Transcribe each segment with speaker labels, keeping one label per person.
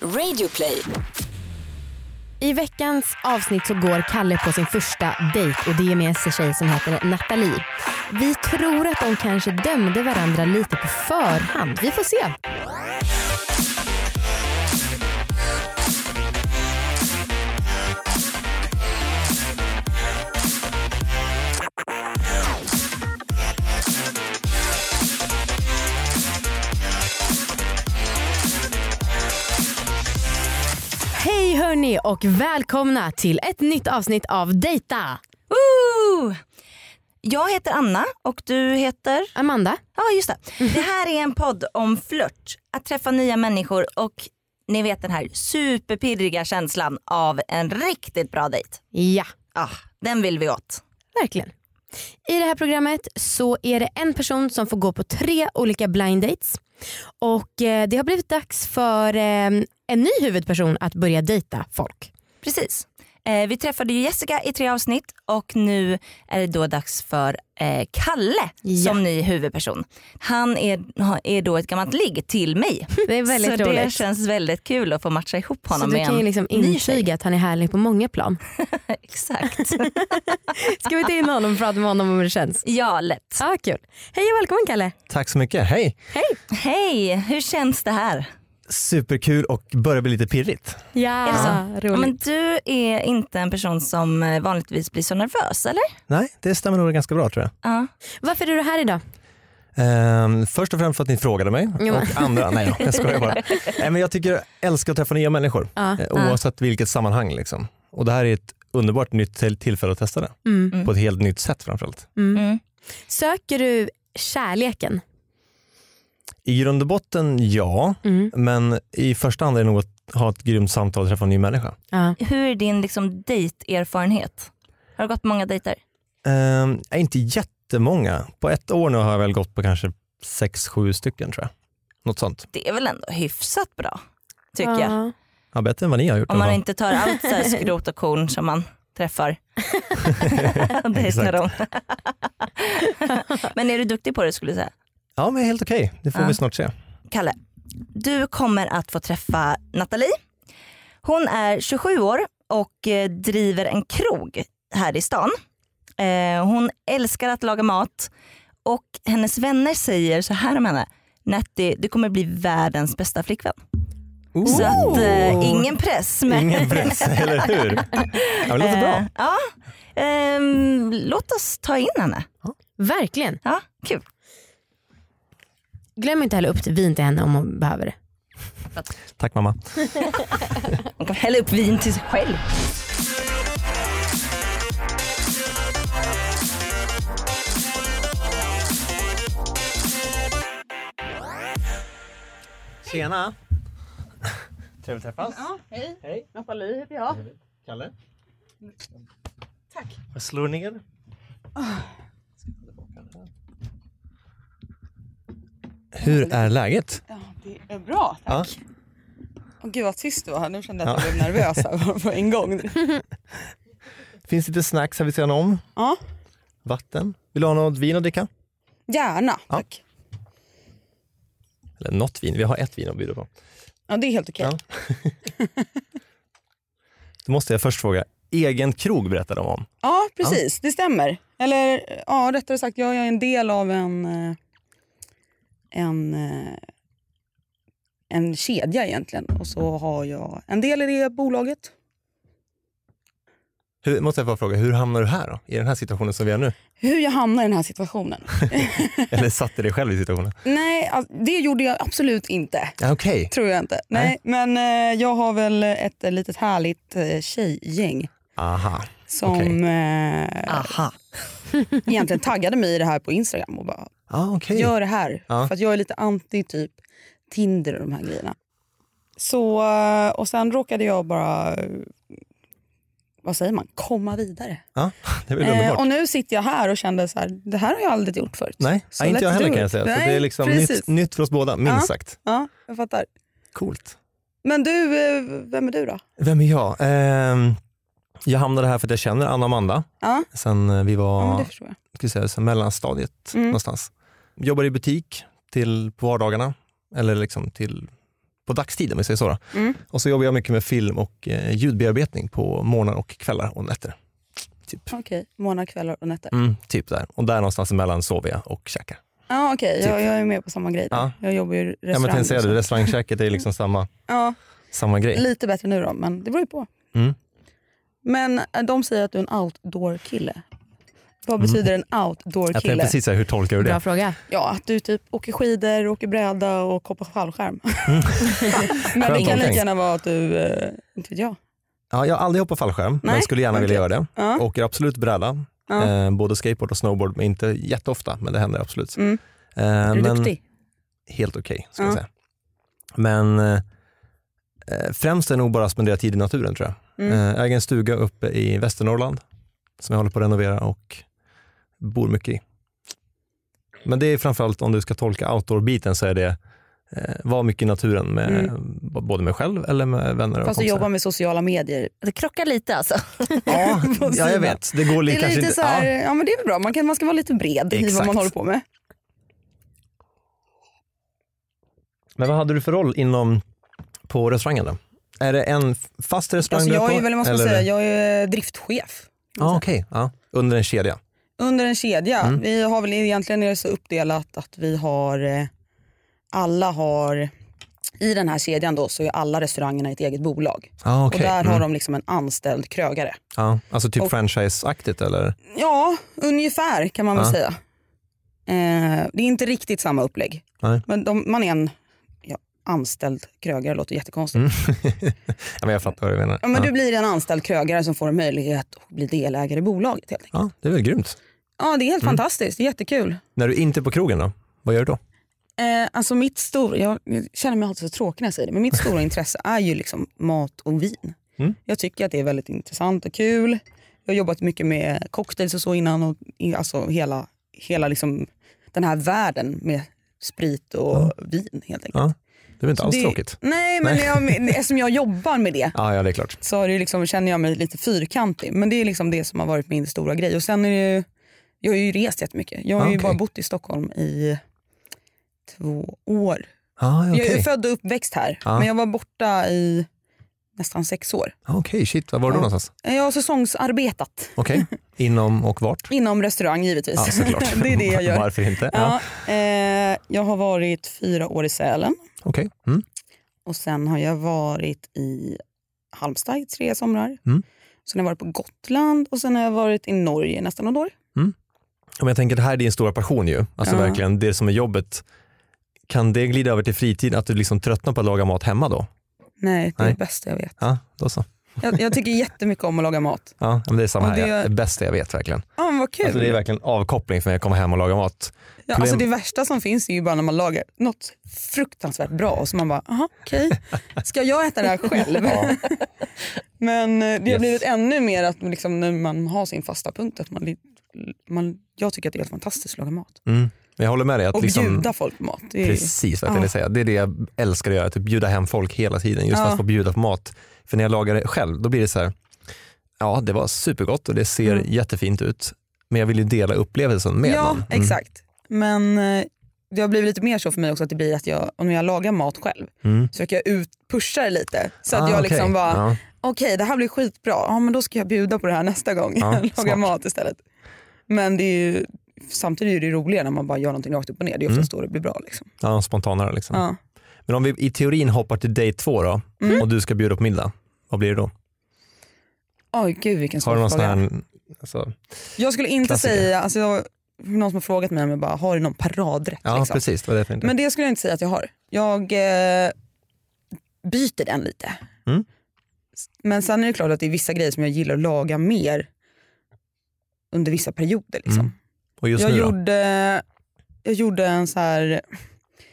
Speaker 1: Radioplay.
Speaker 2: I veckans avsnitt så går Kalle på sin första dejt och det är med en tjej som heter Nathalie. Vi tror att de kanske dömde varandra lite på förhand. Vi får se. Hej hörni och välkomna till ett nytt avsnitt av Dejta.
Speaker 3: Woo! Jag heter Anna och du heter?
Speaker 2: Amanda,
Speaker 3: Ja just det. Det här är en podd om flört, att träffa nya människor och ni vet den här superpirriga känslan av en riktigt bra dejt.
Speaker 2: ja
Speaker 3: Ah, den vill vi åt.
Speaker 2: verkligen. I det här programmet så är det en person som får gå på tre olika blind dates och eh, det har blivit dags för eh, en ny huvudperson att börja dejta folk.
Speaker 3: Precis. Eh, vi träffade ju Jessica i tre avsnitt och nu är det då dags för eh, Kalle
Speaker 2: Ja.
Speaker 3: som ny huvudperson. Han är, ha- är då ett gammalt ligg till mig.
Speaker 2: Det är väldigt
Speaker 3: Så det
Speaker 2: roligt.
Speaker 3: känns väldigt kul att få matcha ihop
Speaker 2: så
Speaker 3: honom
Speaker 2: du
Speaker 3: med
Speaker 2: kan ju
Speaker 3: en
Speaker 2: liksom
Speaker 3: ny tjej.
Speaker 2: intyga att han är härlig på många plan.
Speaker 3: Exakt.
Speaker 2: Ska vi ta in honom och prata med honom om hur det känns?
Speaker 3: ja, lätt.
Speaker 2: Ja, kul. Hej och välkommen Kalle.
Speaker 4: Tack så mycket, hej!
Speaker 3: Hej, hur känns det här?
Speaker 4: Superkul och börjar bli lite pirrigt.
Speaker 2: Ja,
Speaker 3: Är det så?
Speaker 2: roligt.
Speaker 3: Men du är inte en person som eh, vanligtvis blir så nervös, eller?
Speaker 4: Nej, det stämmer nog ganska bra tror jag.
Speaker 3: Ja.
Speaker 2: Varför är du här idag?
Speaker 4: Ehm, först och främst för att ni frågade mig
Speaker 2: Ja.
Speaker 4: och andra, nej då, jag skojar bara. Nej, men jag tycker jag älskar att träffa nya människor
Speaker 2: Ja.
Speaker 4: eh, oavsett vilket sammanhang. Liksom. Och det här är ett underbart nytt till- tillfälle att testa det
Speaker 2: Mm.
Speaker 4: på ett helt nytt sätt framförallt.
Speaker 3: Mm.
Speaker 2: Söker du kärleken?
Speaker 4: I grund och botten ja,
Speaker 2: Mm.
Speaker 4: men i första hand är det nog att ha ett grymt samtal och träffa en ny människa.
Speaker 2: Ja.
Speaker 3: Hur är din liksom, dejterfarenhet? Har du gått på många dejter?
Speaker 4: Ehm, är inte jättemånga, på ett år nu har jag väl gått på kanske sex, sju stycken tror jag. Något sånt.
Speaker 3: Det är väl ändå hyfsat bra, tycker jag.
Speaker 2: Ja.
Speaker 4: Ja, bättre än vad ni har gjort. i
Speaker 3: Om
Speaker 4: alla
Speaker 3: man
Speaker 4: fall.
Speaker 3: inte tar allt så här skrot och korn som man träffar. det är
Speaker 4: Exakt.
Speaker 3: de. Men är du duktig på det skulle du säga?
Speaker 4: Ja, men helt okej. Det får
Speaker 3: Ja.
Speaker 4: vi snart se.
Speaker 3: Kalle, du kommer att få träffa Nathalie. Hon är 27 år och eh, driver en krog här i stan. Eh, Hon älskar att laga mat och hennes vänner säger så här om henne. Natti, du kommer bli världens bästa flickvän. Så att, eh, ingen press. Men
Speaker 4: Ingen press, eller hur? Ja, men det låter
Speaker 3: Eh,
Speaker 4: bra.
Speaker 3: Ja. Ehm, låt oss ta in henne.
Speaker 2: Verkligen.
Speaker 3: Ja, kul.
Speaker 2: Glöm inte att hälla upp vin till henne om hon behöver det.
Speaker 4: Tack mamma.
Speaker 3: Hon kan hälla upp vin till sig själv.
Speaker 4: Tjena. Trevligt att träffas.
Speaker 5: Hej,
Speaker 4: Hej.
Speaker 5: Nathalie heter jag.
Speaker 4: Kalle.
Speaker 5: Tack.
Speaker 4: Jag slår ner. Hur är läget?
Speaker 5: Ja, det är bra, tack.
Speaker 4: Ja.
Speaker 5: Åh, gud vad tyst det var här, nu kände jag att jag blev nervös här på en gång.
Speaker 4: Finns lite snacks här vid sidan om.
Speaker 5: Ja,
Speaker 4: Vatten. Vill du ha något vin att dricka?
Speaker 5: gärna,
Speaker 4: Ja.
Speaker 5: tack.
Speaker 4: Eller något vin, vi har ett vin att bjuda på.
Speaker 5: Ja, det är helt okej.
Speaker 4: Ja. Då måste jag först fråga, egen krog berättade de om.
Speaker 5: Ja, precis, det stämmer. Eller ja, rättare sagt, jag är en del av en, eh, en, eh, en kedja egentligen. Och så har jag en del i det bolaget.
Speaker 4: Hur, måste jag bara fråga, hur hamnar du här då? I den här situationen som vi är nu?
Speaker 5: Hur jag hamnar i den här situationen?
Speaker 4: Eller satte dig själv i situationen?
Speaker 5: Nej, alltså, det gjorde jag absolut inte.
Speaker 4: Ja, Okej.
Speaker 5: Tror jag inte. Nej, men eh, jag har väl ett eh, litet härligt eh, tjejgäng
Speaker 4: Aha.
Speaker 5: som
Speaker 4: Okej.
Speaker 5: eh,
Speaker 3: Aha.
Speaker 5: egentligen taggade mig i det här på Instagram och bara
Speaker 4: Ah, okej.
Speaker 5: gör det här.
Speaker 4: Ja.
Speaker 5: För att jag är lite anti typ Tinder och de här grejerna. Så, eh, och sen råkade jag bara, eh, vad säger man, komma vidare.
Speaker 4: Ja, det är väl
Speaker 5: Eh,
Speaker 4: underbart.
Speaker 5: och nu sitter jag här och kände så här, det här har jag aldrig gjort förut.
Speaker 4: Nej,
Speaker 5: så
Speaker 4: ja, inte
Speaker 5: let's
Speaker 4: jag heller
Speaker 5: do
Speaker 4: kan jag
Speaker 5: it.
Speaker 4: säga. så
Speaker 5: Nej,
Speaker 4: det är liksom
Speaker 5: precis.
Speaker 4: nytt, nytt för oss båda, minst
Speaker 5: Ja.
Speaker 4: sagt.
Speaker 5: Ja, jag fattar.
Speaker 4: Coolt.
Speaker 5: Men du, eh, vem är du då?
Speaker 4: Vem är jag? Ehm, jag hamnade här för att jag känner Anna och Amanda
Speaker 5: Ja,
Speaker 4: sen eh, vi
Speaker 5: ja. men
Speaker 4: var
Speaker 5: det förstår jag.
Speaker 4: ska jag säga, sen mellanstadiet
Speaker 5: Mm.
Speaker 4: någonstans. Jobbar i butik till, på vardagarna eller liksom till på dagstid om vi säger så. Då.
Speaker 5: Mm.
Speaker 4: Och så jobbar jag mycket med film och eh, ljudbearbetning på morgnar och kvällar och nätter. Typ.
Speaker 5: Okej, månader, kvällar och nätter.
Speaker 4: Mm, typ där. Och där någonstans emellan sover jag och käkar.
Speaker 5: Ja okej, jag,
Speaker 4: Typ.
Speaker 5: jag är med på samma grej. där.
Speaker 4: Ja.
Speaker 5: Jag jobbar ju i
Speaker 4: Ja, men
Speaker 5: restaurang.
Speaker 4: tänk säga
Speaker 5: också.
Speaker 4: det, restaurangkäket är liksom samma,
Speaker 5: ja,
Speaker 4: samma grej.
Speaker 5: lite bättre nu då, men det beror ju på.
Speaker 4: Mm.
Speaker 5: Men eh, de säger att du är en outdoor-kille. Vad betyder en
Speaker 4: Mm. Jag tänkte
Speaker 5: outdoor-kille?
Speaker 4: precis säga, hur tolkar du
Speaker 2: Bra
Speaker 4: det?
Speaker 2: fråga.
Speaker 5: Ja, att du typ åker skidor, åker bräda och hoppar fallskärm. men det
Speaker 4: Mm. Skönt
Speaker 5: kan lika
Speaker 4: omtänkt.
Speaker 5: gärna vara att du, eh, inte vet jag.
Speaker 4: Ja, jag har aldrig hoppat fallskärm, men
Speaker 5: Nej,
Speaker 4: skulle gärna vilja göra det.
Speaker 5: Ja.
Speaker 4: Åker absolut bräda,
Speaker 5: Ja.
Speaker 4: eh, både skateboard och snowboard, men inte jätteofta, men det händer absolut.
Speaker 5: Mm.
Speaker 4: Eh,
Speaker 5: Är du
Speaker 4: men-
Speaker 5: duktig?
Speaker 4: helt okej. ska jag
Speaker 5: Ja.
Speaker 4: säga. Men eh, eh, främst är det nog bara att spendera tid i naturen tror jag.
Speaker 5: Mm.
Speaker 4: Eh, jag äger en stuga uppe i Västernorrland som jag håller på att renovera och bor mycket i. Men det är framförallt om du ska tolka outdoor-biten så är det eh, vara mycket i naturen med
Speaker 5: Mm.
Speaker 4: b- både med själv eller med vänner och
Speaker 5: Fast du
Speaker 4: kompisar.
Speaker 5: jobbar med sociala medier.
Speaker 3: Det krockar lite alltså.
Speaker 4: ja,
Speaker 5: på
Speaker 4: ja, jag
Speaker 5: sidan.
Speaker 4: vet. Det går
Speaker 5: Det är
Speaker 4: kanske
Speaker 5: lite
Speaker 4: inte.
Speaker 5: så här,
Speaker 4: Ja.
Speaker 5: ja. men det är väl bra, man, kan, man ska vara lite bred i vad
Speaker 4: Exakt.
Speaker 5: man håller på med.
Speaker 4: Men vad hade du för roll inom på restaurangen då? Är det en f- fast restaurang
Speaker 5: Alltså,
Speaker 4: du
Speaker 5: jag
Speaker 4: på?
Speaker 5: är väl, vad ska man
Speaker 4: eller-
Speaker 5: säga, jag är eh, driftchef.
Speaker 4: Ja, okej. Ja. Under en kedja.
Speaker 5: Under en kedja.
Speaker 4: Mm.
Speaker 5: Vi har väl egentligen är det så uppdelat att vi har, eh, alla har, i den här kedjan då så är alla restaurangerna ett eget bolag.
Speaker 4: Ah,
Speaker 5: Och där har de liksom en anställd krögare.
Speaker 4: Ja, alltså typ
Speaker 5: Och-
Speaker 4: franchise-aktigt eller?
Speaker 5: Ja, ungefär kan man väl
Speaker 4: Ja.
Speaker 5: säga. Eh, det är inte riktigt samma upplägg.
Speaker 4: Nej.
Speaker 5: Men de, man är en ja, anställd krögare, låter jättekonstigt.
Speaker 4: Ja, men jag fattar vad du menar.
Speaker 5: Ja, men
Speaker 4: Mm. ja.
Speaker 5: Du blir en anställd krögare som får en möjlighet att bli delägare i bolaget. Helt enkelt.
Speaker 4: ja, det är väl grymt.
Speaker 5: Ja, det är helt
Speaker 4: Mm.
Speaker 5: fantastiskt, det är jättekul.
Speaker 4: När du inte är på krogen då, vad gör du då?
Speaker 5: Eh, alltså mitt stor, jag, jag känner mig alltid så tråkig när jag säger det, men mitt stora intresse är ju liksom mat och vin.
Speaker 4: Mm.
Speaker 5: Jag tycker att det är väldigt intressant och kul. Jag har jobbat mycket med cocktails och så innan. Och, i- alltså hela hela liksom, den här världen med sprit och vin helt enkelt.
Speaker 4: Ja, det är väl inte alls
Speaker 5: det,
Speaker 4: tråkigt?
Speaker 5: Nej, men Jag, eftersom jag jobbar med det
Speaker 4: Ja, ja, det är klart.
Speaker 5: så har det liksom, känner jag mig lite fyrkantig. Men det är liksom det som har varit min stora grej. Och sen är det ju, jag har ju rest jättemycket. Jag har ju
Speaker 4: Ah, Okej.
Speaker 5: bara bott i Stockholm i två år.
Speaker 4: Ah, Okej, Ah.
Speaker 5: Jag
Speaker 4: okay.
Speaker 5: är född och uppväxt här,
Speaker 4: Ja.
Speaker 5: men jag var borta i nästan sex år.
Speaker 4: shit. Var var du
Speaker 5: Ja.
Speaker 4: någonstans?
Speaker 5: Jag har säsongsarbetat
Speaker 4: Okej, inom och vart?
Speaker 5: inom restaurang givetvis.
Speaker 4: Ja, såklart.
Speaker 5: det är det jag gör.
Speaker 4: Varför inte? Ja.
Speaker 5: Ja, eh, jag har varit fyra år i Sälen
Speaker 4: Okej, mm.
Speaker 5: och sen har jag varit i Halmstad i tre somrar.
Speaker 4: Mm.
Speaker 5: Sen har jag varit på Gotland och sen har jag varit i Norge i nästan något år.
Speaker 4: Ja, men jag tänker det här är din stora passion ju. Alltså
Speaker 5: Ja.
Speaker 4: verkligen det som är jobbet. Kan det glida över till fritid, att du liksom tröttnar på att laga mat hemma då?
Speaker 5: Nej, det är
Speaker 4: Nej.
Speaker 5: det bästa jag vet.
Speaker 4: Ja, då så.
Speaker 5: Jag, jag tycker jättemycket om att laga mat.
Speaker 4: Ja, men det är samma
Speaker 5: Och
Speaker 4: här.
Speaker 5: det-
Speaker 4: Det... det bästa jag vet verkligen.
Speaker 5: Ja, men vad kul.
Speaker 4: Alltså, det är verkligen avkoppling för mig att komma hem och laga mat.
Speaker 5: Ja,
Speaker 4: Problem-
Speaker 5: alltså det värsta som finns är ju bara när man lagar något fruktansvärt bra och så man bara, aha, okej, ska jag äta det här själv? Men eh, det har
Speaker 4: Yes.
Speaker 5: blivit ännu mer att liksom, när man har sin fasta punkt, att man, li- man, jag tycker att det är helt fantastiskt att laga mat.
Speaker 4: Mm. Men jag håller med dig. Att
Speaker 5: Och
Speaker 4: liksom...
Speaker 5: bjuda folk på mat. Det är,
Speaker 4: Precis vad jag tänkte säga. Det är det jag älskar att göra, typ bjuda hem folk hela tiden. Just
Speaker 5: Ja.
Speaker 4: att få bjuda på mat. För när jag lagar det själv, då blir det så här, ja det var supergott och det ser
Speaker 5: Mm.
Speaker 4: jättefint ut. Men jag vill ju dela upplevelsen med
Speaker 5: ja,
Speaker 4: någon. Mm.
Speaker 5: exakt. Men eh, det har blivit lite mer så för mig också att det blir att jag, om jag lagar mat själv,
Speaker 4: Mm.
Speaker 5: så försöker jag ut, pusha det lite. Så att
Speaker 4: Ah,
Speaker 5: jag
Speaker 4: okej.
Speaker 5: liksom bara,
Speaker 4: Ja.
Speaker 5: okej det här blir skitbra, ja, men då ska jag bjuda på det här nästa gång.
Speaker 4: Ja,
Speaker 5: Jag Laga
Speaker 4: smart.
Speaker 5: mat istället. Men det är ju, samtidigt är det ju roligare när man bara gör någonting rakt upp och ner. Det är oftast då det blir bra. Liksom.
Speaker 4: Mm. ja, spontanare liksom.
Speaker 5: Ja. Mm.
Speaker 4: Men om vi i teorin hoppar till day två då och du ska bjuda på middag, vad blir det då?
Speaker 5: Oj gud vilken
Speaker 4: Har du
Speaker 5: svår
Speaker 4: någon sån
Speaker 5: fråga.
Speaker 4: här, alltså,
Speaker 5: Jag skulle inte
Speaker 4: klassiker?
Speaker 5: säga, alltså, jag, någon som har frågat mig om jag bara har du någon paradrätt.
Speaker 4: ja
Speaker 5: liksom.
Speaker 4: precis, det var det jag tänkte.
Speaker 5: Men det skulle jag inte säga att jag har. Jag eh, byter den lite.
Speaker 4: Mm.
Speaker 5: S- Men sen är det klart att det är vissa grejer som jag gillar att laga mer under vissa perioder. Liksom.
Speaker 4: Mm. och just
Speaker 5: jag,
Speaker 4: nu då?
Speaker 5: gjorde, jag gjorde en så här...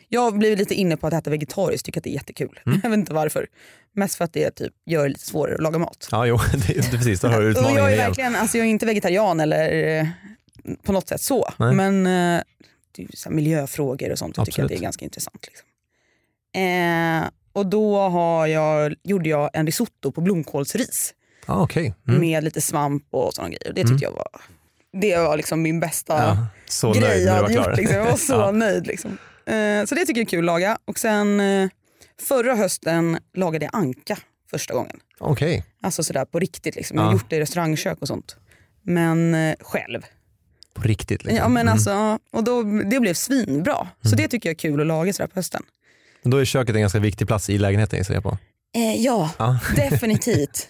Speaker 5: Jag blev lite inne på att äta vegetariskt, tycker att det är jättekul.
Speaker 4: Mm.
Speaker 5: Jag vet inte varför. Mest för att det typ gör det lite svårare att laga mat.
Speaker 4: Ja, jo, det, det, precis, då har du
Speaker 5: Och
Speaker 4: utmaningen
Speaker 5: jag, är
Speaker 4: igen.
Speaker 5: verkligen, alltså jag är inte vegetarian eller eh, på något sätt så.
Speaker 4: Nej.
Speaker 5: Men eh, det är ju så här miljöfrågor och sånt. Jag tycker jag att
Speaker 4: Absolut.
Speaker 5: det är ganska intressant. Liksom. Eh, och då har jag, gjorde jag en risotto på blomkålsris
Speaker 4: Ah, okej. mm.
Speaker 5: med lite svamp och sådana grejer. Och Det tyckte jag var, det var liksom min bästa
Speaker 4: ja, så
Speaker 5: grej
Speaker 4: nöjd när
Speaker 5: liksom.
Speaker 4: du
Speaker 5: jag
Speaker 4: var klar.
Speaker 5: hade gjort. Liksom. Jag var så
Speaker 4: Ja.
Speaker 5: nöjd. Liksom. Eh, så det tycker jag är kul att laga. Och sen eh, Förra hösten lagade jag anka första gången.
Speaker 4: Okej.
Speaker 5: Alltså sådär på riktigt. Liksom. Jag har
Speaker 4: Ja.
Speaker 5: gjort det i restaurangkök och sånt. Men eh, själv.
Speaker 4: På riktigt. Liksom.
Speaker 5: Ja, men
Speaker 4: Mm.
Speaker 5: alltså, ja. och då, det blev svinbra. Så det tycker jag är kul att laga sådär på hösten.
Speaker 4: Men Då är köket en ganska viktig plats i lägenheten gissar jag på.
Speaker 5: Eh, ja,
Speaker 4: Ja.
Speaker 5: definitivt.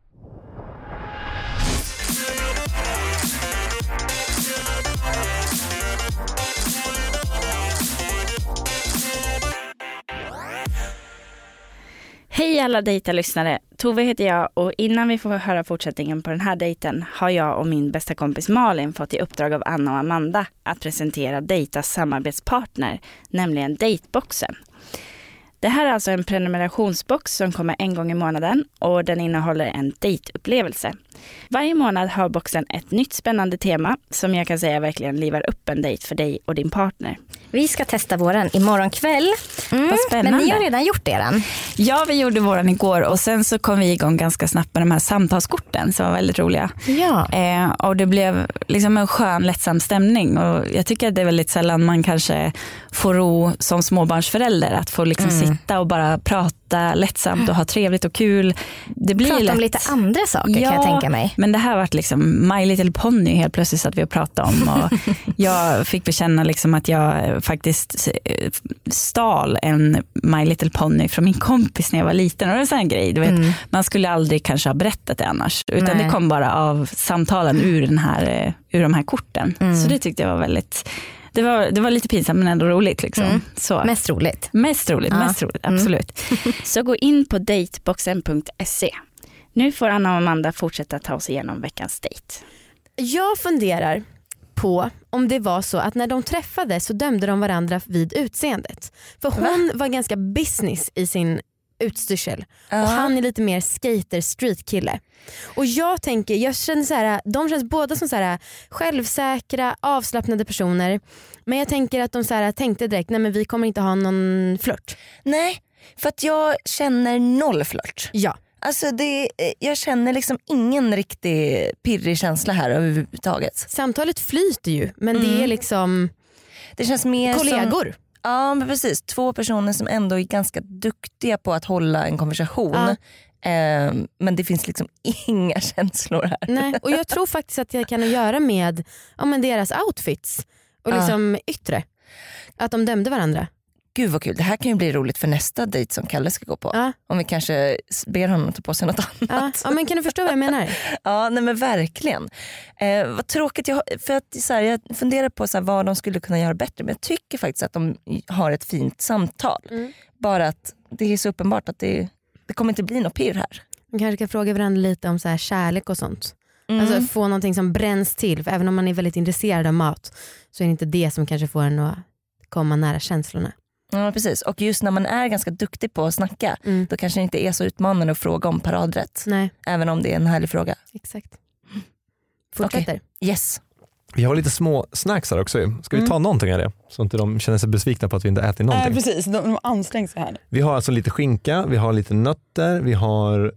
Speaker 6: Hej alla dejta-lyssnare! Tove heter jag och innan vi får höra fortsättningen på den här dejten har jag och min bästa kompis Malin fått i uppdrag av Anna och Amanda att presentera Dejtas samarbetspartner, nämligen Dateboxen. Det här är alltså en prenumerationsbox som kommer en gång i månaden och den innehåller en dejtupplevelse. Varje månad har boxen ett nytt spännande tema som jag kan säga verkligen livar upp en dejt för dig och din partner.
Speaker 7: Vi ska testa våran imorgon kväll. Mm,
Speaker 6: Vad spännande.
Speaker 7: Men ni har redan gjort eran.
Speaker 6: Ja, vi gjorde våran igår och sen så kom vi igång ganska snabbt med de här samtalskorten som var väldigt roliga.
Speaker 7: Ja.
Speaker 6: Eh, och det blev liksom en skön lättsam stämning och jag tycker att det är väldigt sällan man kanske får ro som småbarnsförälder att få liksom
Speaker 7: Mm.
Speaker 6: sitta och bara prata lättsamt och ha trevligt och kul. Det blir
Speaker 7: Prata
Speaker 6: lätt.
Speaker 7: om lite andra saker kan jag
Speaker 6: Ja,
Speaker 7: tänka mig.
Speaker 6: Men det här vart liksom My Little Pony helt plötsligt att vi och pratade om. Och jag fick bekänna liksom att jag eh, faktiskt eh, stal en My Little Pony från min kompis när jag var liten. Och det var en sån här grej, du vet,
Speaker 7: Mm.
Speaker 6: Man skulle aldrig kanske ha berättat det annars. Utan
Speaker 7: Nej.
Speaker 6: det kom bara av samtalen ur, den här, eh, ur de här korten.
Speaker 7: Mm.
Speaker 6: Så det tyckte jag var väldigt, det var, det var lite pinsamt men ändå roligt. Liksom.
Speaker 7: Mm.
Speaker 6: Så.
Speaker 7: Mest roligt.
Speaker 6: Mest roligt,
Speaker 7: Ja.
Speaker 6: mest roligt,
Speaker 7: Mm.
Speaker 6: absolut. Så gå in på dateboxen.se. Nu får Anna och Amanda fortsätta ta oss igenom veckans dejt.
Speaker 2: Jag funderar på om det var så att när de träffades så dömde de varandra vid utseendet. För hon var ganska business i sin utstyrsel och han är lite mer skater street kille. Och jag tänker, jag känner så här, de känns båda som så här, självsäkra, avslappnade personer. Men jag tänker att de så här, tänkte direkt, nej men vi kommer inte ha någon flört.
Speaker 3: Nej, för att jag känner noll flört.
Speaker 2: Ja.
Speaker 3: Alltså det, eh, jag känner liksom ingen riktig pirrig känsla här överhuvudtaget.
Speaker 2: Samtalet flyter ju men det är liksom
Speaker 3: Mm. Det känns mer Som,
Speaker 2: kollegor.
Speaker 3: ja men precis, två personer som ändå är ganska duktiga på att hålla en konversation.
Speaker 2: Ja.
Speaker 3: Eh, men det finns liksom inga känslor här.
Speaker 2: Nej, och jag tror faktiskt att det kan ha att göra med ja, men deras outfits och
Speaker 3: Ja.
Speaker 2: liksom yttre. Att de dömde varandra.
Speaker 3: Gud vad kul, det här kan ju bli roligt för nästa dejt som Kalle ska gå på.
Speaker 2: Ja.
Speaker 3: Om vi kanske s- ber honom ta på sig något
Speaker 2: Ja.
Speaker 3: annat.
Speaker 2: Ja, men kan du förstå vad jag menar?
Speaker 3: Ja, nej men verkligen. Eh, vad tråkigt, jag, har- för att, så här, jag funderar på så här, vad de skulle kunna göra bättre men jag tycker faktiskt att de har ett fint samtal.
Speaker 2: Mm.
Speaker 3: Bara att det är så uppenbart att det, det kommer inte bli något pirr här.
Speaker 2: Man kanske ska fråga varandra lite om så här kärlek och sånt.
Speaker 3: Mm.
Speaker 2: Alltså få någonting som bränns till. För även om man är väldigt intresserad av mat så är det inte det som kanske får en att komma nära känslorna.
Speaker 3: ja, precis. Och just när man är ganska duktig på att snacka
Speaker 2: Mm.
Speaker 3: då kanske det inte är så utmanande att fråga om paradrätt.
Speaker 2: Nej,
Speaker 3: Även om det är en härlig fråga.
Speaker 2: exakt. Fortsätter.
Speaker 3: Yes.
Speaker 4: Vi har lite små snacks här också. ju. Ska vi
Speaker 5: Mm.
Speaker 4: ta någonting av det? Så inte de känner sig besvikna på att vi inte ätit någonting.
Speaker 5: Nej, Eh, precis, de, de anstränger sig här.
Speaker 4: Vi har alltså lite skinka, vi har lite nötter, vi har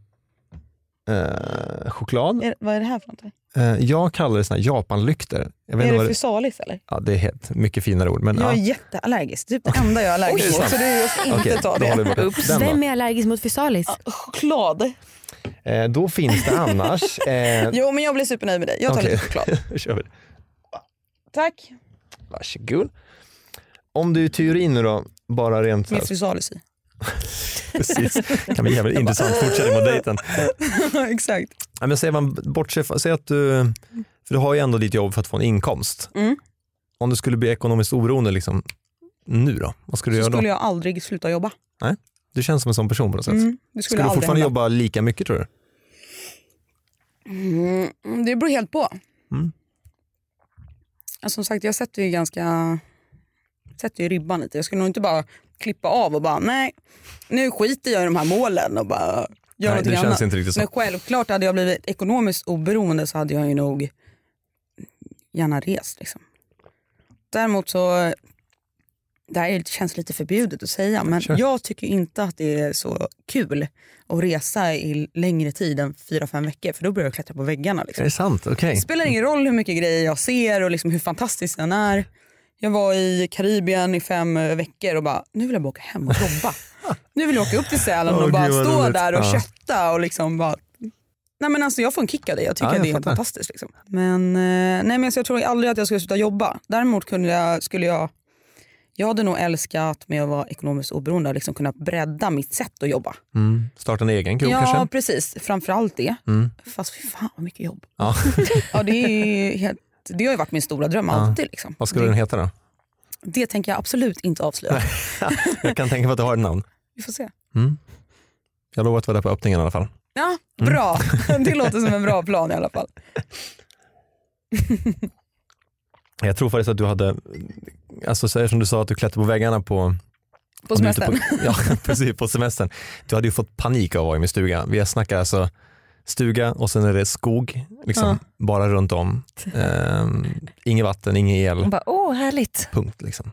Speaker 4: eh, choklad.
Speaker 5: Är, vad är det här för någonting?
Speaker 4: Eh, jag kallar det såna här japanlykter. Jag vet
Speaker 5: är
Speaker 4: inte
Speaker 5: det
Speaker 4: vad det,
Speaker 5: fysalis eller?
Speaker 4: ja, det är helt, mycket finare ord. Men,
Speaker 5: Jag är
Speaker 4: ja.
Speaker 5: jätteallergisk, typ det enda jag är allergisk
Speaker 4: Oj.
Speaker 5: mot. Så det är just inte
Speaker 4: Okej,
Speaker 5: ta
Speaker 4: då håller
Speaker 5: det.
Speaker 4: vi bort den då.
Speaker 2: Vem är allergisk mot fysalis?
Speaker 5: Choklad.
Speaker 4: Eh, då finns det annars... Eh,
Speaker 5: Jo men jag blir supernöjd med dig. Jag tar
Speaker 4: Okej.
Speaker 5: lite choklad.
Speaker 4: då kör vi det.
Speaker 5: Tack.
Speaker 4: Varsågod. Om du i teorin nu då, bara rent... så här-
Speaker 5: Med fysalis i.
Speaker 4: Precis. Det kan bli jävligt intressant fortsättning på dejten.
Speaker 5: Exakt.
Speaker 4: Ja, men säg, man bortser, från- säg att du För du har ju ändå ditt jobb för att få en inkomst.
Speaker 5: Mm.
Speaker 4: Om du skulle bli ekonomiskt oberoende liksom, nu då? Vad skulle du
Speaker 5: Så
Speaker 4: göra då?
Speaker 5: skulle jag aldrig sluta jobba.
Speaker 4: Nej? Du känns som en sån person på något sätt.
Speaker 5: Mm, det skulle
Speaker 4: Alltså, skulle du
Speaker 5: aldrig
Speaker 4: fortfarande
Speaker 5: hända.
Speaker 4: jobba lika mycket tror du?
Speaker 5: Mm, det beror helt på.
Speaker 4: Mm.
Speaker 5: Ja, Som sagt, jag sätter ju ganska sätter ju ribban lite. Jag skulle nog inte bara klippa av och bara nej, nu skiter jag i de här målen och bara
Speaker 4: Nej,
Speaker 5: gör någonting
Speaker 4: det känns
Speaker 5: annat.
Speaker 4: inte riktigt så.
Speaker 5: Men självklart, hade jag blivit ekonomiskt oberoende så hade jag ju nog gärna rest. Liksom. Däremot så, det här är- känns lite förbjudet att säga, men
Speaker 8: Kör.
Speaker 5: jag tycker inte att det är så kul att resa i längre tid än fyra fem veckor för då börjar jag klättra på väggarna. Liksom.
Speaker 4: Är det sant? Okej.
Speaker 5: Det spelar ingen roll hur mycket grejer jag ser och liksom hur fantastisk den är. Jag var i Karibien i fem eh, veckor och bara, nu vill jag bara åka hem och jobba. nu vill jag åka upp till Sälen
Speaker 8: Åh,
Speaker 5: och bara
Speaker 8: gud, vad
Speaker 5: stå
Speaker 8: roligt.
Speaker 5: där och
Speaker 8: Ja.
Speaker 5: kötta och liksom bara Nej men alltså jag får en kick av det, jag tycker
Speaker 8: Ja, jag
Speaker 5: att det är helt
Speaker 8: fattar.
Speaker 5: fantastiskt. Liksom. Men, eh, nej, men alltså, jag tror aldrig att jag skulle sluta jobba. Däremot kunde jag, skulle jag, jag hade nog älskat med att vara ekonomiskt oberoende och liksom kunna bredda mitt sätt att jobba.
Speaker 4: Mm. Starta en egen krog
Speaker 5: ja
Speaker 4: kanske?
Speaker 5: precis, framförallt det.
Speaker 4: Mm.
Speaker 5: Fast fy fan vad mycket jobb.
Speaker 4: Ja.
Speaker 5: Ja, det, är ju helt, det har ju varit min stora dröm alltid. Liksom.
Speaker 4: Vad skulle den heta då?
Speaker 5: Det tänker jag absolut inte avslöja.
Speaker 4: Jag kan tänka mig att du har ett namn.
Speaker 5: Vi får se.
Speaker 4: Mm. Jag lovar att vara där på öppningen i alla fall.
Speaker 5: Ja, bra.
Speaker 4: Mm.
Speaker 5: Det låter som en bra plan i alla fall.
Speaker 4: Jag tror faktiskt att du hade, alltså så här som du sa att du klättrade på väggarna på
Speaker 5: På
Speaker 4: om du inte
Speaker 5: semestern.
Speaker 4: På, ja, precis, på semestern. Du hade ju fått panik av att vara i min stuga. Vi snackar alltså stuga och sen är det skog, liksom, bara runt om. Ehm, inget vatten, ingen el,
Speaker 5: Mm.
Speaker 3: Hon bara, åh härligt.
Speaker 4: punkt. Liksom.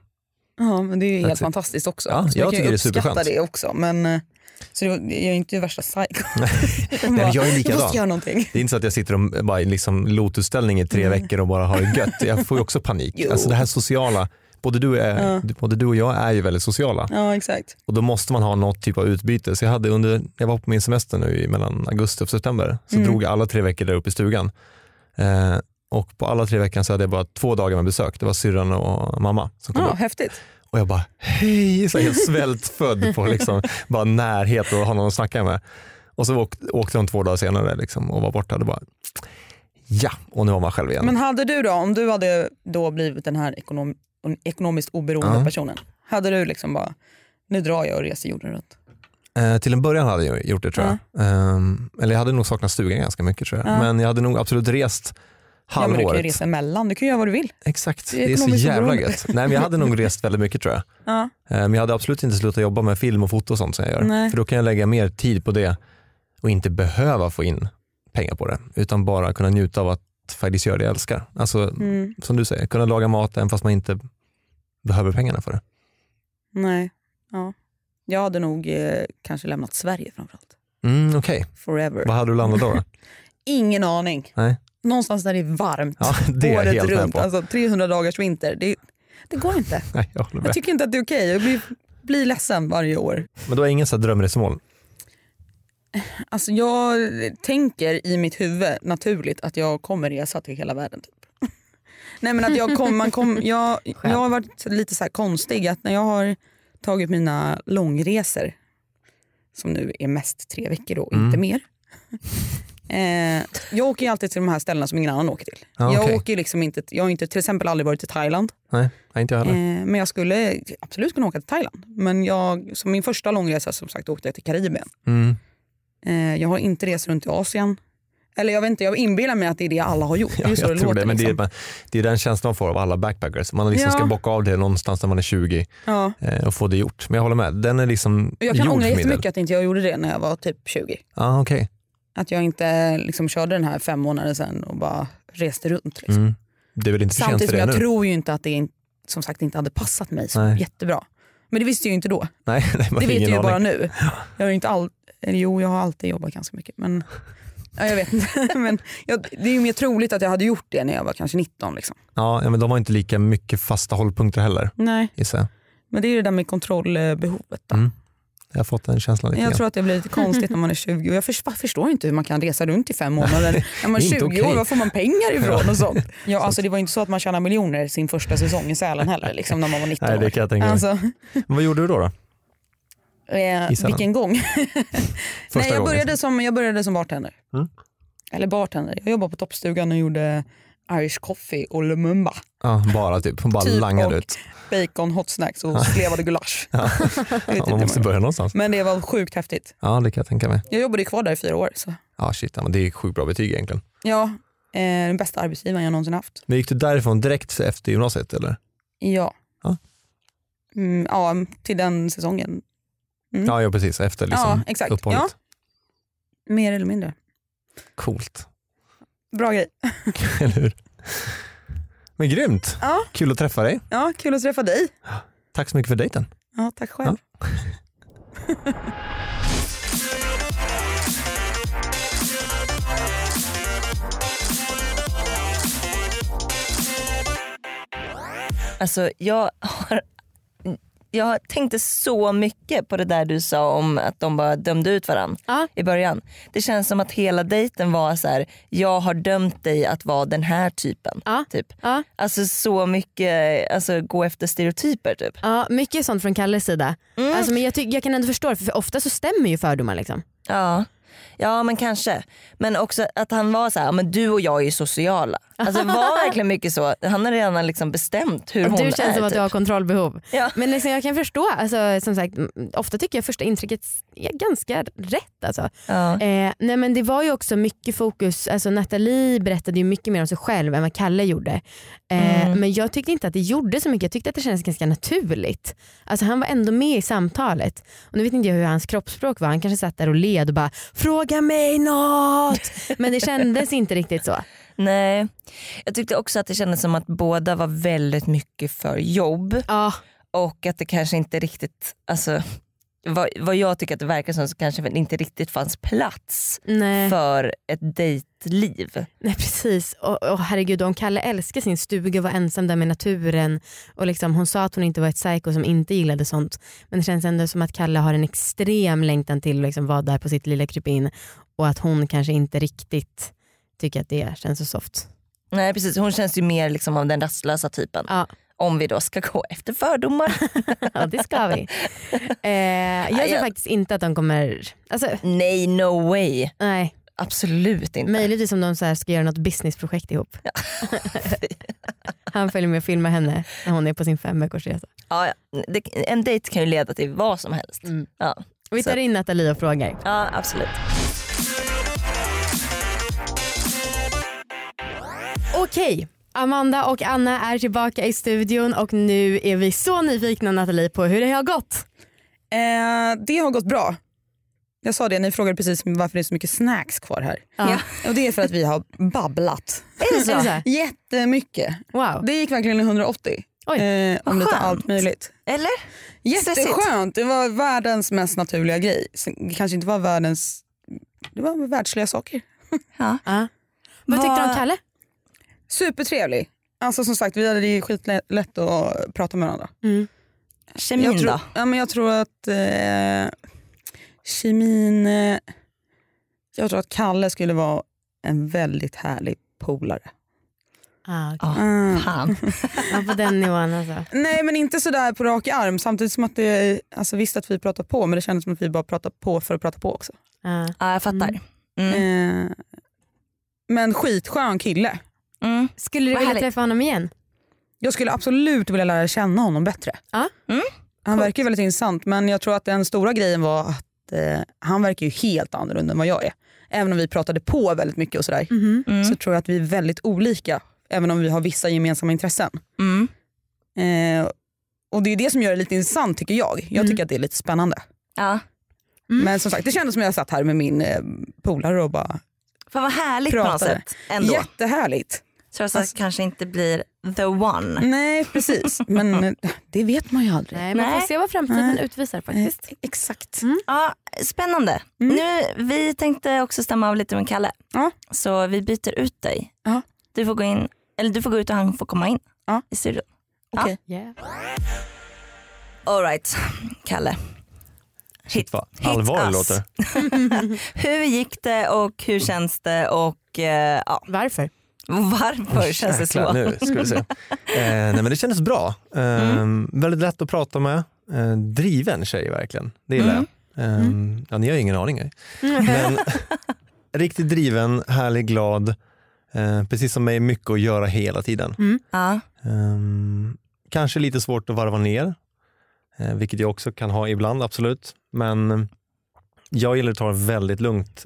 Speaker 5: Ja, men det är ju helt
Speaker 4: That's it.
Speaker 5: fantastiskt också.
Speaker 4: Ja,
Speaker 5: Så
Speaker 4: jag
Speaker 5: man kan ju
Speaker 4: tycker det är
Speaker 5: uppskatta
Speaker 4: superskönt.
Speaker 5: det också. Men, eh, så det var, jag är inte värsta psycho.
Speaker 4: Nej, men jag är
Speaker 5: Mm. Jag
Speaker 4: likadan.
Speaker 5: måste göra någonting.
Speaker 4: Det är inte så att jag sitter och bara i liksom lotusställning i tre veckor och bara har det gött. Jag får ju också panik.
Speaker 5: Mm. Jo.
Speaker 4: Alltså det här sociala, både du, och jag är,
Speaker 5: Ja.
Speaker 4: både du och jag är ju väldigt sociala.
Speaker 5: Ja, exakt.
Speaker 4: Och då måste man ha något typ av utbyte. Så jag, hade under, jag var på min semester nu i mellan augusti och september. Så
Speaker 5: Mm.
Speaker 4: drog jag alla tre veckor där uppe i stugan. Eh, och på alla tre veckor så hade jag bara två dagar med besök. Det var syrran och mamma som kom
Speaker 5: Ja,
Speaker 4: upp.
Speaker 5: häftigt.
Speaker 4: Och jag bara hej, så helt svältfödd på liksom, bara närhet och ha någon att snacka med. Och så åkte, åkte de två dagar senare liksom, och var borta. Och bara, ja, och nu var man själv igen.
Speaker 5: Men hade du då, om du hade då blivit den här ekonom, ekonomiskt oberoende
Speaker 4: Ja. personen,
Speaker 5: personen, hade du liksom bara, nu drar jag och reser jorden runt?
Speaker 4: Eh, till en början hade jag gjort det tror jag. Ehm, eller jag hade nog saknat stugan ganska mycket tror jag.
Speaker 5: Ja.
Speaker 4: Men jag hade nog absolut rest
Speaker 5: Ja, men du kan ju
Speaker 4: halvåret.
Speaker 5: resa emellan, du kan ju göra vad du vill.
Speaker 4: Exakt,
Speaker 5: Du
Speaker 4: det är så
Speaker 5: ekonomiskt
Speaker 4: jävla
Speaker 5: oberoende.
Speaker 4: gött. Nej, men jag hade nog rest väldigt mycket tror jag.
Speaker 5: ja.
Speaker 4: Eh, Men jag hade absolut inte slutat jobba med film och foto och sånt som jag gör.
Speaker 5: Nej.
Speaker 4: För då kan jag lägga mer tid på det och inte behöva få in pengar på det. Utan bara kunna njuta av att faktiskt göra det jag älskar. Alltså
Speaker 5: Mm.
Speaker 4: som du säger, kunna laga mat även fast man inte behöver pengarna för det.
Speaker 5: Nej. Ja. Jag hade nog eh, kanske lämnat Sverige framförallt.
Speaker 4: Mm, Okej,
Speaker 5: Forever.
Speaker 4: vad hade du landat då? då?
Speaker 5: Ingen aning.
Speaker 4: Nej.
Speaker 5: Någonstans där det är varmt.
Speaker 4: Ja, det är jag
Speaker 5: året
Speaker 4: helt med
Speaker 5: runt.
Speaker 4: på.
Speaker 5: Alltså 300 dagars vinter. Det, det går inte.
Speaker 4: Nej, jag håller
Speaker 5: Jag
Speaker 4: med.
Speaker 5: tycker inte att det är okej. Jag blir, blir ledsen varje år.
Speaker 4: Men du har ingen så här drömresmål?
Speaker 5: Alltså jag tänker i mitt huvud naturligt att jag kommer resa till hela världen. Typ. Nej men att jag kom, man kom, jag, jag har varit lite så här konstig att när jag har tagit mina långresor som nu är mest tre veckor och inte
Speaker 8: Mm.
Speaker 5: mer. eh, jag åker ju alltid till de här ställena som ingen annan åker till.
Speaker 4: Ja,
Speaker 5: jag
Speaker 4: Ah, okej.
Speaker 5: åker ju liksom inte, jag har inte till exempel aldrig varit i Thailand.
Speaker 4: Nej, nej, inte jag heller.
Speaker 5: Eh, men jag skulle absolut kunna åka till Thailand. Men jag, som min första långresa som sagt åkte jag till Karibien.
Speaker 4: Mm.
Speaker 5: Eh, jag har inte rest runt i Asien. Eller jag vet inte, jag inbillar mig att det är det alla har gjort. Det är
Speaker 4: Ja,
Speaker 5: ju så
Speaker 4: jag
Speaker 5: det
Speaker 4: tror
Speaker 5: låter.
Speaker 4: det, men det är,
Speaker 5: liksom.
Speaker 4: man- det är den känslan man får av alla backpackers. Man liksom
Speaker 5: Ja.
Speaker 4: ska bocka av det någonstans när man är 20
Speaker 5: ja.
Speaker 4: eh, och få det gjort. Men jag håller med, den är liksom
Speaker 5: Och jag kan
Speaker 4: gjord
Speaker 5: ångra
Speaker 4: för min del.
Speaker 5: jättemycket att inte jag gjorde det när jag var typ 20.
Speaker 4: Ah, okay.
Speaker 5: Att jag inte liksom körde den här fem månader sen och bara reste runt. Liksom.
Speaker 4: Mm. Det är väl inte för sent
Speaker 5: Samtidigt
Speaker 4: för
Speaker 5: som
Speaker 4: det
Speaker 5: jag
Speaker 4: nu?
Speaker 5: tror ju inte att det in- som sagt inte hade passat mig så
Speaker 4: Nej.
Speaker 5: jättebra. Men det visste jag ju inte då.
Speaker 4: Nej, nej, man
Speaker 5: Det
Speaker 4: har
Speaker 5: vet jag
Speaker 4: ingen
Speaker 5: ju bara
Speaker 4: aning.
Speaker 5: nu. Jag har ju inte all... eller Jo, jag har alltid jobbat ganska mycket. Men... Ja, jag vet inte. Men jag, det är ju mer troligt att jag hade gjort det när jag var kanske 19. Liksom.
Speaker 4: Ja, ja, men de har inte lika mycket fasta hållpunkter heller.
Speaker 5: Nej.
Speaker 4: Gissar jag.
Speaker 5: Men det är ju det där med kontrollbehovet. Då.
Speaker 4: Mm. Jag har fått den känslan lite
Speaker 5: Jag
Speaker 4: grann.
Speaker 5: tror att det blir lite konstigt när man är 20. Och Jag förs- förstår inte hur man kan resa runt i fem månader.
Speaker 4: Nej,
Speaker 5: När man är
Speaker 4: det är inte
Speaker 5: 20 år,
Speaker 4: okej.
Speaker 5: var får man pengar ifrån
Speaker 4: Ja.
Speaker 5: och sånt? Ja, alltså, det var ju inte så att man tjänade miljoner sin första säsong i Sälen heller, liksom, när man var 19
Speaker 4: Nej, det
Speaker 5: år.
Speaker 4: kan jag tänka mig.
Speaker 5: Alltså,
Speaker 4: Men vad gjorde du då? då? I
Speaker 5: eh,
Speaker 4: Sälen.
Speaker 5: vilken gång. Nej, jag,
Speaker 4: gången.
Speaker 5: började som, jag började som bartender.
Speaker 4: Mm.
Speaker 5: Eller bartender, jag jobbade på Toppstugan och gjorde Irish coffee och Lumumba.
Speaker 4: Ja, bara typ. Hon bara
Speaker 5: Typ
Speaker 4: langar
Speaker 5: och
Speaker 4: ut.
Speaker 5: Bacon, hot snacks och slevade gulasch.
Speaker 4: Ja.
Speaker 5: Jag vet
Speaker 4: Man
Speaker 5: inte
Speaker 4: måste
Speaker 5: vad-
Speaker 4: börja någonstans.
Speaker 5: Men det var sjukt häftigt.
Speaker 4: Ja, det kan jag tänka mig.
Speaker 5: Jag jobbade ju kvar där i fyra år. Så.
Speaker 4: Ja, shit, ja, men det är sjukt bra betyg egentligen.
Speaker 5: Ja, eh, den bästa arbetsgivaren jag någonsin haft.
Speaker 4: Men gick du därifrån direkt efter gymnasiet eller?
Speaker 5: Ja.
Speaker 4: Ja.
Speaker 5: Mm, ja, till den säsongen. Mm.
Speaker 4: Ja, ja, precis. Efter liksom
Speaker 5: Ja, exakt.
Speaker 4: uppehållet.
Speaker 5: Ja. Mer eller mindre.
Speaker 4: Coolt,
Speaker 5: Bra grej.
Speaker 4: eller hur? Men grymt.
Speaker 5: Ja.
Speaker 4: Kul att träffa dig.
Speaker 5: Ja, kul att träffa dig.
Speaker 4: Tack så mycket för dejten.
Speaker 5: Ja, tack själv.
Speaker 3: Alltså jag har, jag tänkte så mycket på det där du sa om att de bara dömde ut varandra i början. Det känns som att hela dejten var så här: jag har dömt dig att vara den här typen. Typ. Alltså så mycket, alltså gå efter stereotyper typ.
Speaker 2: Ja, mycket sånt från Kalles sida. Alltså, men jag, tycker- jag kan ändå förstå det för ofta så stämmer ju fördomar. Liksom.
Speaker 3: Ja. ja men kanske. Men också att han var så här, "Ja, men du och jag är ju sociala. Alltså var verkligen mycket så. Han har redan liksom bestämt hur hon
Speaker 2: du känns
Speaker 3: är.
Speaker 2: som att
Speaker 3: typ.
Speaker 2: du har kontrollbehov.
Speaker 3: Ja.
Speaker 2: Men liksom, jag kan förstå, alltså, som sagt, m- ofta tycker jag första intrycket är ganska rätt. Alltså. Eh, nej, men det var ju också mycket fokus, alltså, Nathalie berättade ju mycket mer om sig själv än vad Kalle gjorde. Eh,
Speaker 7: Mm.
Speaker 2: Men jag tyckte inte att det gjorde så mycket, jag tyckte att det kändes ganska naturligt. Alltså, han var ändå med i samtalet. Och nu vet inte jag hur hans kroppsspråk var, han kanske satt där och led och bara “fråga mig något”. Men det kändes inte riktigt så.
Speaker 3: Nej. Jag tyckte också att det kändes som att båda var väldigt mycket för jobb. Och att det kanske inte riktigt, alltså vad, vad jag tycker att det verkar som så kanske det inte riktigt fanns plats
Speaker 2: Nej.
Speaker 3: för ett dejtliv.
Speaker 2: Nej precis. Och, och herregud om Kalle älskar sin stuga och var ensam där med naturen. Och liksom, hon sa att hon inte var ett psycho som inte gillade sånt. Men det känns ändå som att Kalle har en extrem längtan till att liksom vara där på sitt lilla krypin. Och att hon kanske inte riktigt tycker att det känns så soft.
Speaker 3: Nej precis, hon känns ju mer liksom av den rastlösa typen. Om vi då ska gå efter fördomar.
Speaker 2: ja det ska vi. Eh, jag tror faktiskt inte att de kommer... Alltså,
Speaker 3: nej no way.
Speaker 2: Nej.
Speaker 3: Absolut inte.
Speaker 2: Möjligtvis om de så här ska göra något businessprojekt ihop. Han följer med och filmar henne när hon är på sin femveckorsresa.
Speaker 3: Ja, ja. det, en dejt kan ju leda till vad som helst. Ja.
Speaker 2: Vi tar
Speaker 3: Så-
Speaker 2: in Nathalie och frågar.
Speaker 3: Ja absolut.
Speaker 2: Okej, Amanda och Anna är tillbaka i studion och nu är vi så nyfikna Nathalie på hur det har gått.
Speaker 5: Eh, det har gått bra. Jag sa det, ni frågade precis varför det är så mycket snacks kvar här.
Speaker 2: Ja.
Speaker 5: Och det är för att vi har babblat.
Speaker 3: Är det så? Är det så?
Speaker 5: Jättemycket.
Speaker 2: Wow.
Speaker 5: Det gick verkligen i 180. eh, om lite
Speaker 3: skönt.
Speaker 5: allt möjligt.
Speaker 3: Eller?
Speaker 5: Jätteskönt. Det var världens mest naturliga grej. Sen- Det kanske inte var världens... Det var världsliga saker.
Speaker 3: Ja.
Speaker 2: Vad tyckte du om Kalle?
Speaker 5: Supertrevlig. Alltså som sagt, vi hade det ju skitlätt att prata med varandra.
Speaker 2: Mm.
Speaker 3: Kemin
Speaker 5: jag tror,
Speaker 3: då?
Speaker 5: Ja, men jag tror att eh, kemin... Eh, jag tror att Kalle skulle vara en väldigt härlig polare.
Speaker 2: Ah,
Speaker 3: okay.
Speaker 5: Mm.
Speaker 3: Fan.
Speaker 2: ja, på den nivån alltså.
Speaker 5: Nej men inte sådär på rak arm samtidigt som att det, alltså visst att vi pratar på men det kändes som att vi bara pratar på för att prata på också.
Speaker 2: Ja,
Speaker 3: jag
Speaker 5: Mm.
Speaker 3: fattar. Mm.
Speaker 5: Eh, men skitskön kille.
Speaker 3: Mm,
Speaker 2: Skulle du
Speaker 5: Vad
Speaker 2: vilja
Speaker 5: härligt.
Speaker 2: träffa honom igen?
Speaker 5: Jag skulle absolut vilja lära känna honom bättre.
Speaker 2: Ja.
Speaker 3: Mm.
Speaker 5: Han verkar ju väldigt intressant men jag tror att den stora grejen var att eh, han verkar ju helt annorlunda än vad jag är. Även om vi pratade på väldigt mycket och
Speaker 3: Mm.
Speaker 5: sådär
Speaker 3: Mm-hmm.
Speaker 2: Mhm.
Speaker 5: så tror jag att vi är väldigt olika även om vi har vissa gemensamma intressen.
Speaker 3: mm.
Speaker 5: Eh, och det är det som gör det lite intressant tycker jag. Jag
Speaker 3: Mm.
Speaker 5: tycker att det är lite spännande.
Speaker 3: Ja. Mm.
Speaker 5: Men som sagt det kändes som jag satt här med min eh, polare och bara
Speaker 3: Fan vad härligt på
Speaker 5: pratade.
Speaker 3: något sätt. Ändå.
Speaker 5: Jättehärligt.
Speaker 3: Så att alltså, kanske inte blir the one.
Speaker 5: Nej precis
Speaker 4: Mm.
Speaker 5: men eh, det vet man ju aldrig.
Speaker 2: Nej, man får se vad framtiden
Speaker 5: Nej.
Speaker 2: utvisar faktiskt.
Speaker 5: Exakt.
Speaker 3: Ja, spännande.
Speaker 4: Mm.
Speaker 3: Nu, vi tänkte också stämma av lite med Kalle. Så vi byter ut dig. Du, får gå in, eller du får gå ut och han får komma in i studion.
Speaker 5: Okej.
Speaker 3: Ja. All right, Kalle.
Speaker 4: Shit vad allvarligt det
Speaker 3: us.
Speaker 4: låter.
Speaker 3: hur gick det och hur känns det? Och, eh, ja.
Speaker 2: Varför?
Speaker 3: Varför
Speaker 4: Åh,
Speaker 3: känns det så?
Speaker 4: jäklar, Nu ska vi se. Eh, nej, men det kändes bra. Eh, Väldigt lätt att prata med. Eh, driven tjej verkligen. Det gillar
Speaker 8: Mm.
Speaker 4: jag. Eh,
Speaker 2: Mm.
Speaker 4: Ja, ni har ju ingen aning. eh. Men, riktigt driven, härlig, glad. Eh, precis som mig, mycket att göra hela tiden.
Speaker 3: Mm. Ja.
Speaker 4: Ehm, kanske lite svårt att varva ner, eh, vilket jag också kan ha ibland, absolut. Men eh, jag gillar att ta det väldigt lugnt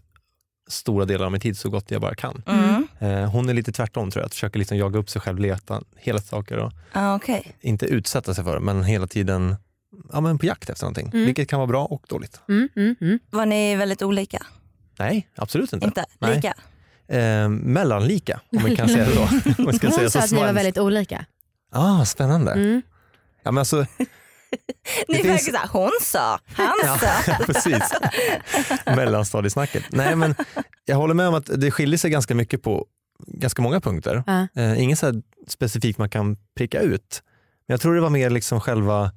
Speaker 4: stora delar av min tid så gott jag bara kan.
Speaker 3: Mm.
Speaker 4: Eh, hon är lite tvärtom tror jag, att försöker liksom jaga upp sig själv, leta hela saker och
Speaker 3: Ja, okej.
Speaker 4: inte utsätta sig för det, men hela tiden ja, men på jakt efter någonting,
Speaker 3: Mm.
Speaker 4: vilket kan vara bra och dåligt.
Speaker 3: Var ni väldigt olika?
Speaker 4: Nej, absolut inte.
Speaker 3: Inte
Speaker 4: Nej.
Speaker 3: lika?
Speaker 4: Eh, mellanlika, om man kan säga det då. Om man ska
Speaker 2: Hon
Speaker 4: säga
Speaker 2: sa
Speaker 4: så
Speaker 2: att ni var
Speaker 4: smalt.
Speaker 2: väldigt olika.
Speaker 4: Ah, spännande.
Speaker 2: Mm.
Speaker 4: Ja, men alltså,
Speaker 3: Ni
Speaker 4: finns-
Speaker 3: verkar såhär, hon sa, han
Speaker 4: Ja,
Speaker 3: sa.
Speaker 4: precis. mellanstadiesnacket. Nej, men jag håller med om att det skiljer sig ganska mycket på ganska många punkter.
Speaker 2: Ja.
Speaker 4: Eh, ingen så här specifik man kan pricka ut. Men jag tror det var mer liksom själva,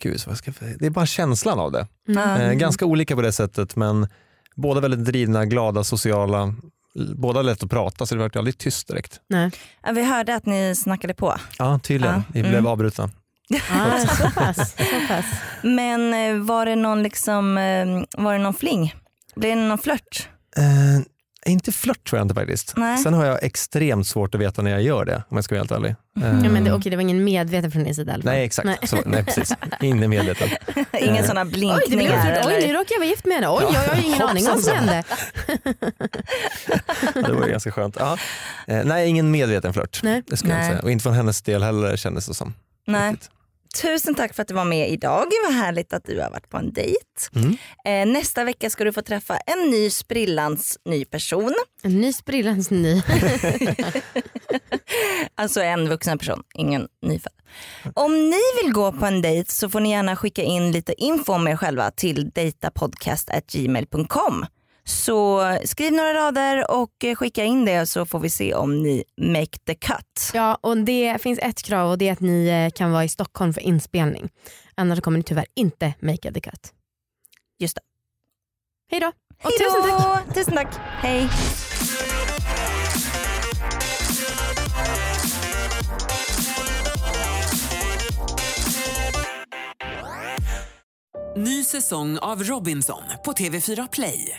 Speaker 4: gud, vad ska jag... det är bara känslan av det.
Speaker 3: Mm.
Speaker 4: Eh, ganska olika på det sättet men båda väldigt drivna, glada, sociala. L- Båda lätt att prata så det vart aldrig tyst direkt.
Speaker 2: Nej.
Speaker 3: Ja, Vi hörde att ni snackade på.
Speaker 4: Ja, tydligen.
Speaker 3: Ja,
Speaker 4: Vi blev
Speaker 3: mm.
Speaker 4: avbrutna.
Speaker 2: Ah, så pass, så pass.
Speaker 3: Men eh, var det någon liksom, eh, var det någon fling? Blev det någon flört?
Speaker 4: Eh, inte flört tror jag inte faktiskt.
Speaker 3: Nej.
Speaker 4: Sen har jag extremt svårt att veta när jag gör det om jag ska vara helt ärlig. Eh,
Speaker 2: Ja, men det, okej, det var ingen medveten från din sida i alla fall.
Speaker 4: Nej exakt, nej, Så, nej precis. Inne medveten.
Speaker 3: Ingen
Speaker 4: Eh,
Speaker 3: sådana
Speaker 2: Oj, det blev
Speaker 3: blinkningar?
Speaker 2: helt Oj, nu
Speaker 3: eller?
Speaker 2: råkar jag vara gift med henne. Oj,
Speaker 4: Ja.
Speaker 2: jag har ingen aning om vad som
Speaker 4: Hoppsan.
Speaker 2: hände.
Speaker 4: Det var ju ganska skönt. Ja. Eh, nej, ingen medveten flört.
Speaker 2: Nej.
Speaker 4: Det skulle jag
Speaker 3: Nej.
Speaker 4: inte säga. Och inte från hennes del heller kändes det som.
Speaker 3: Nej. Tusen tack för att du var med idag. Vad härligt att du har varit på en dejt.
Speaker 4: Mm.
Speaker 3: Eh, nästa vecka ska du få träffa en ny sprillans ny person.
Speaker 2: En ny sprillans ny.
Speaker 3: Alltså en vuxen person, ingen nyfödd. Om ni vill gå på en dejt så får ni gärna skicka in lite info om er själva till datapodcast.gmail.com. Så skriv några rader och eh, skicka in det så får vi se om ni make the cut.
Speaker 2: Ja, och det finns ett krav och det är att ni eh, kan vara i Stockholm för inspelning. Annars kommer ni tyvärr inte make the cut.
Speaker 3: Just det.
Speaker 2: Hej då! Och
Speaker 3: Hej
Speaker 2: tusen tack!
Speaker 3: då! Tusen tack! Hej!
Speaker 1: Ny säsong av Robinson på TV4 Play.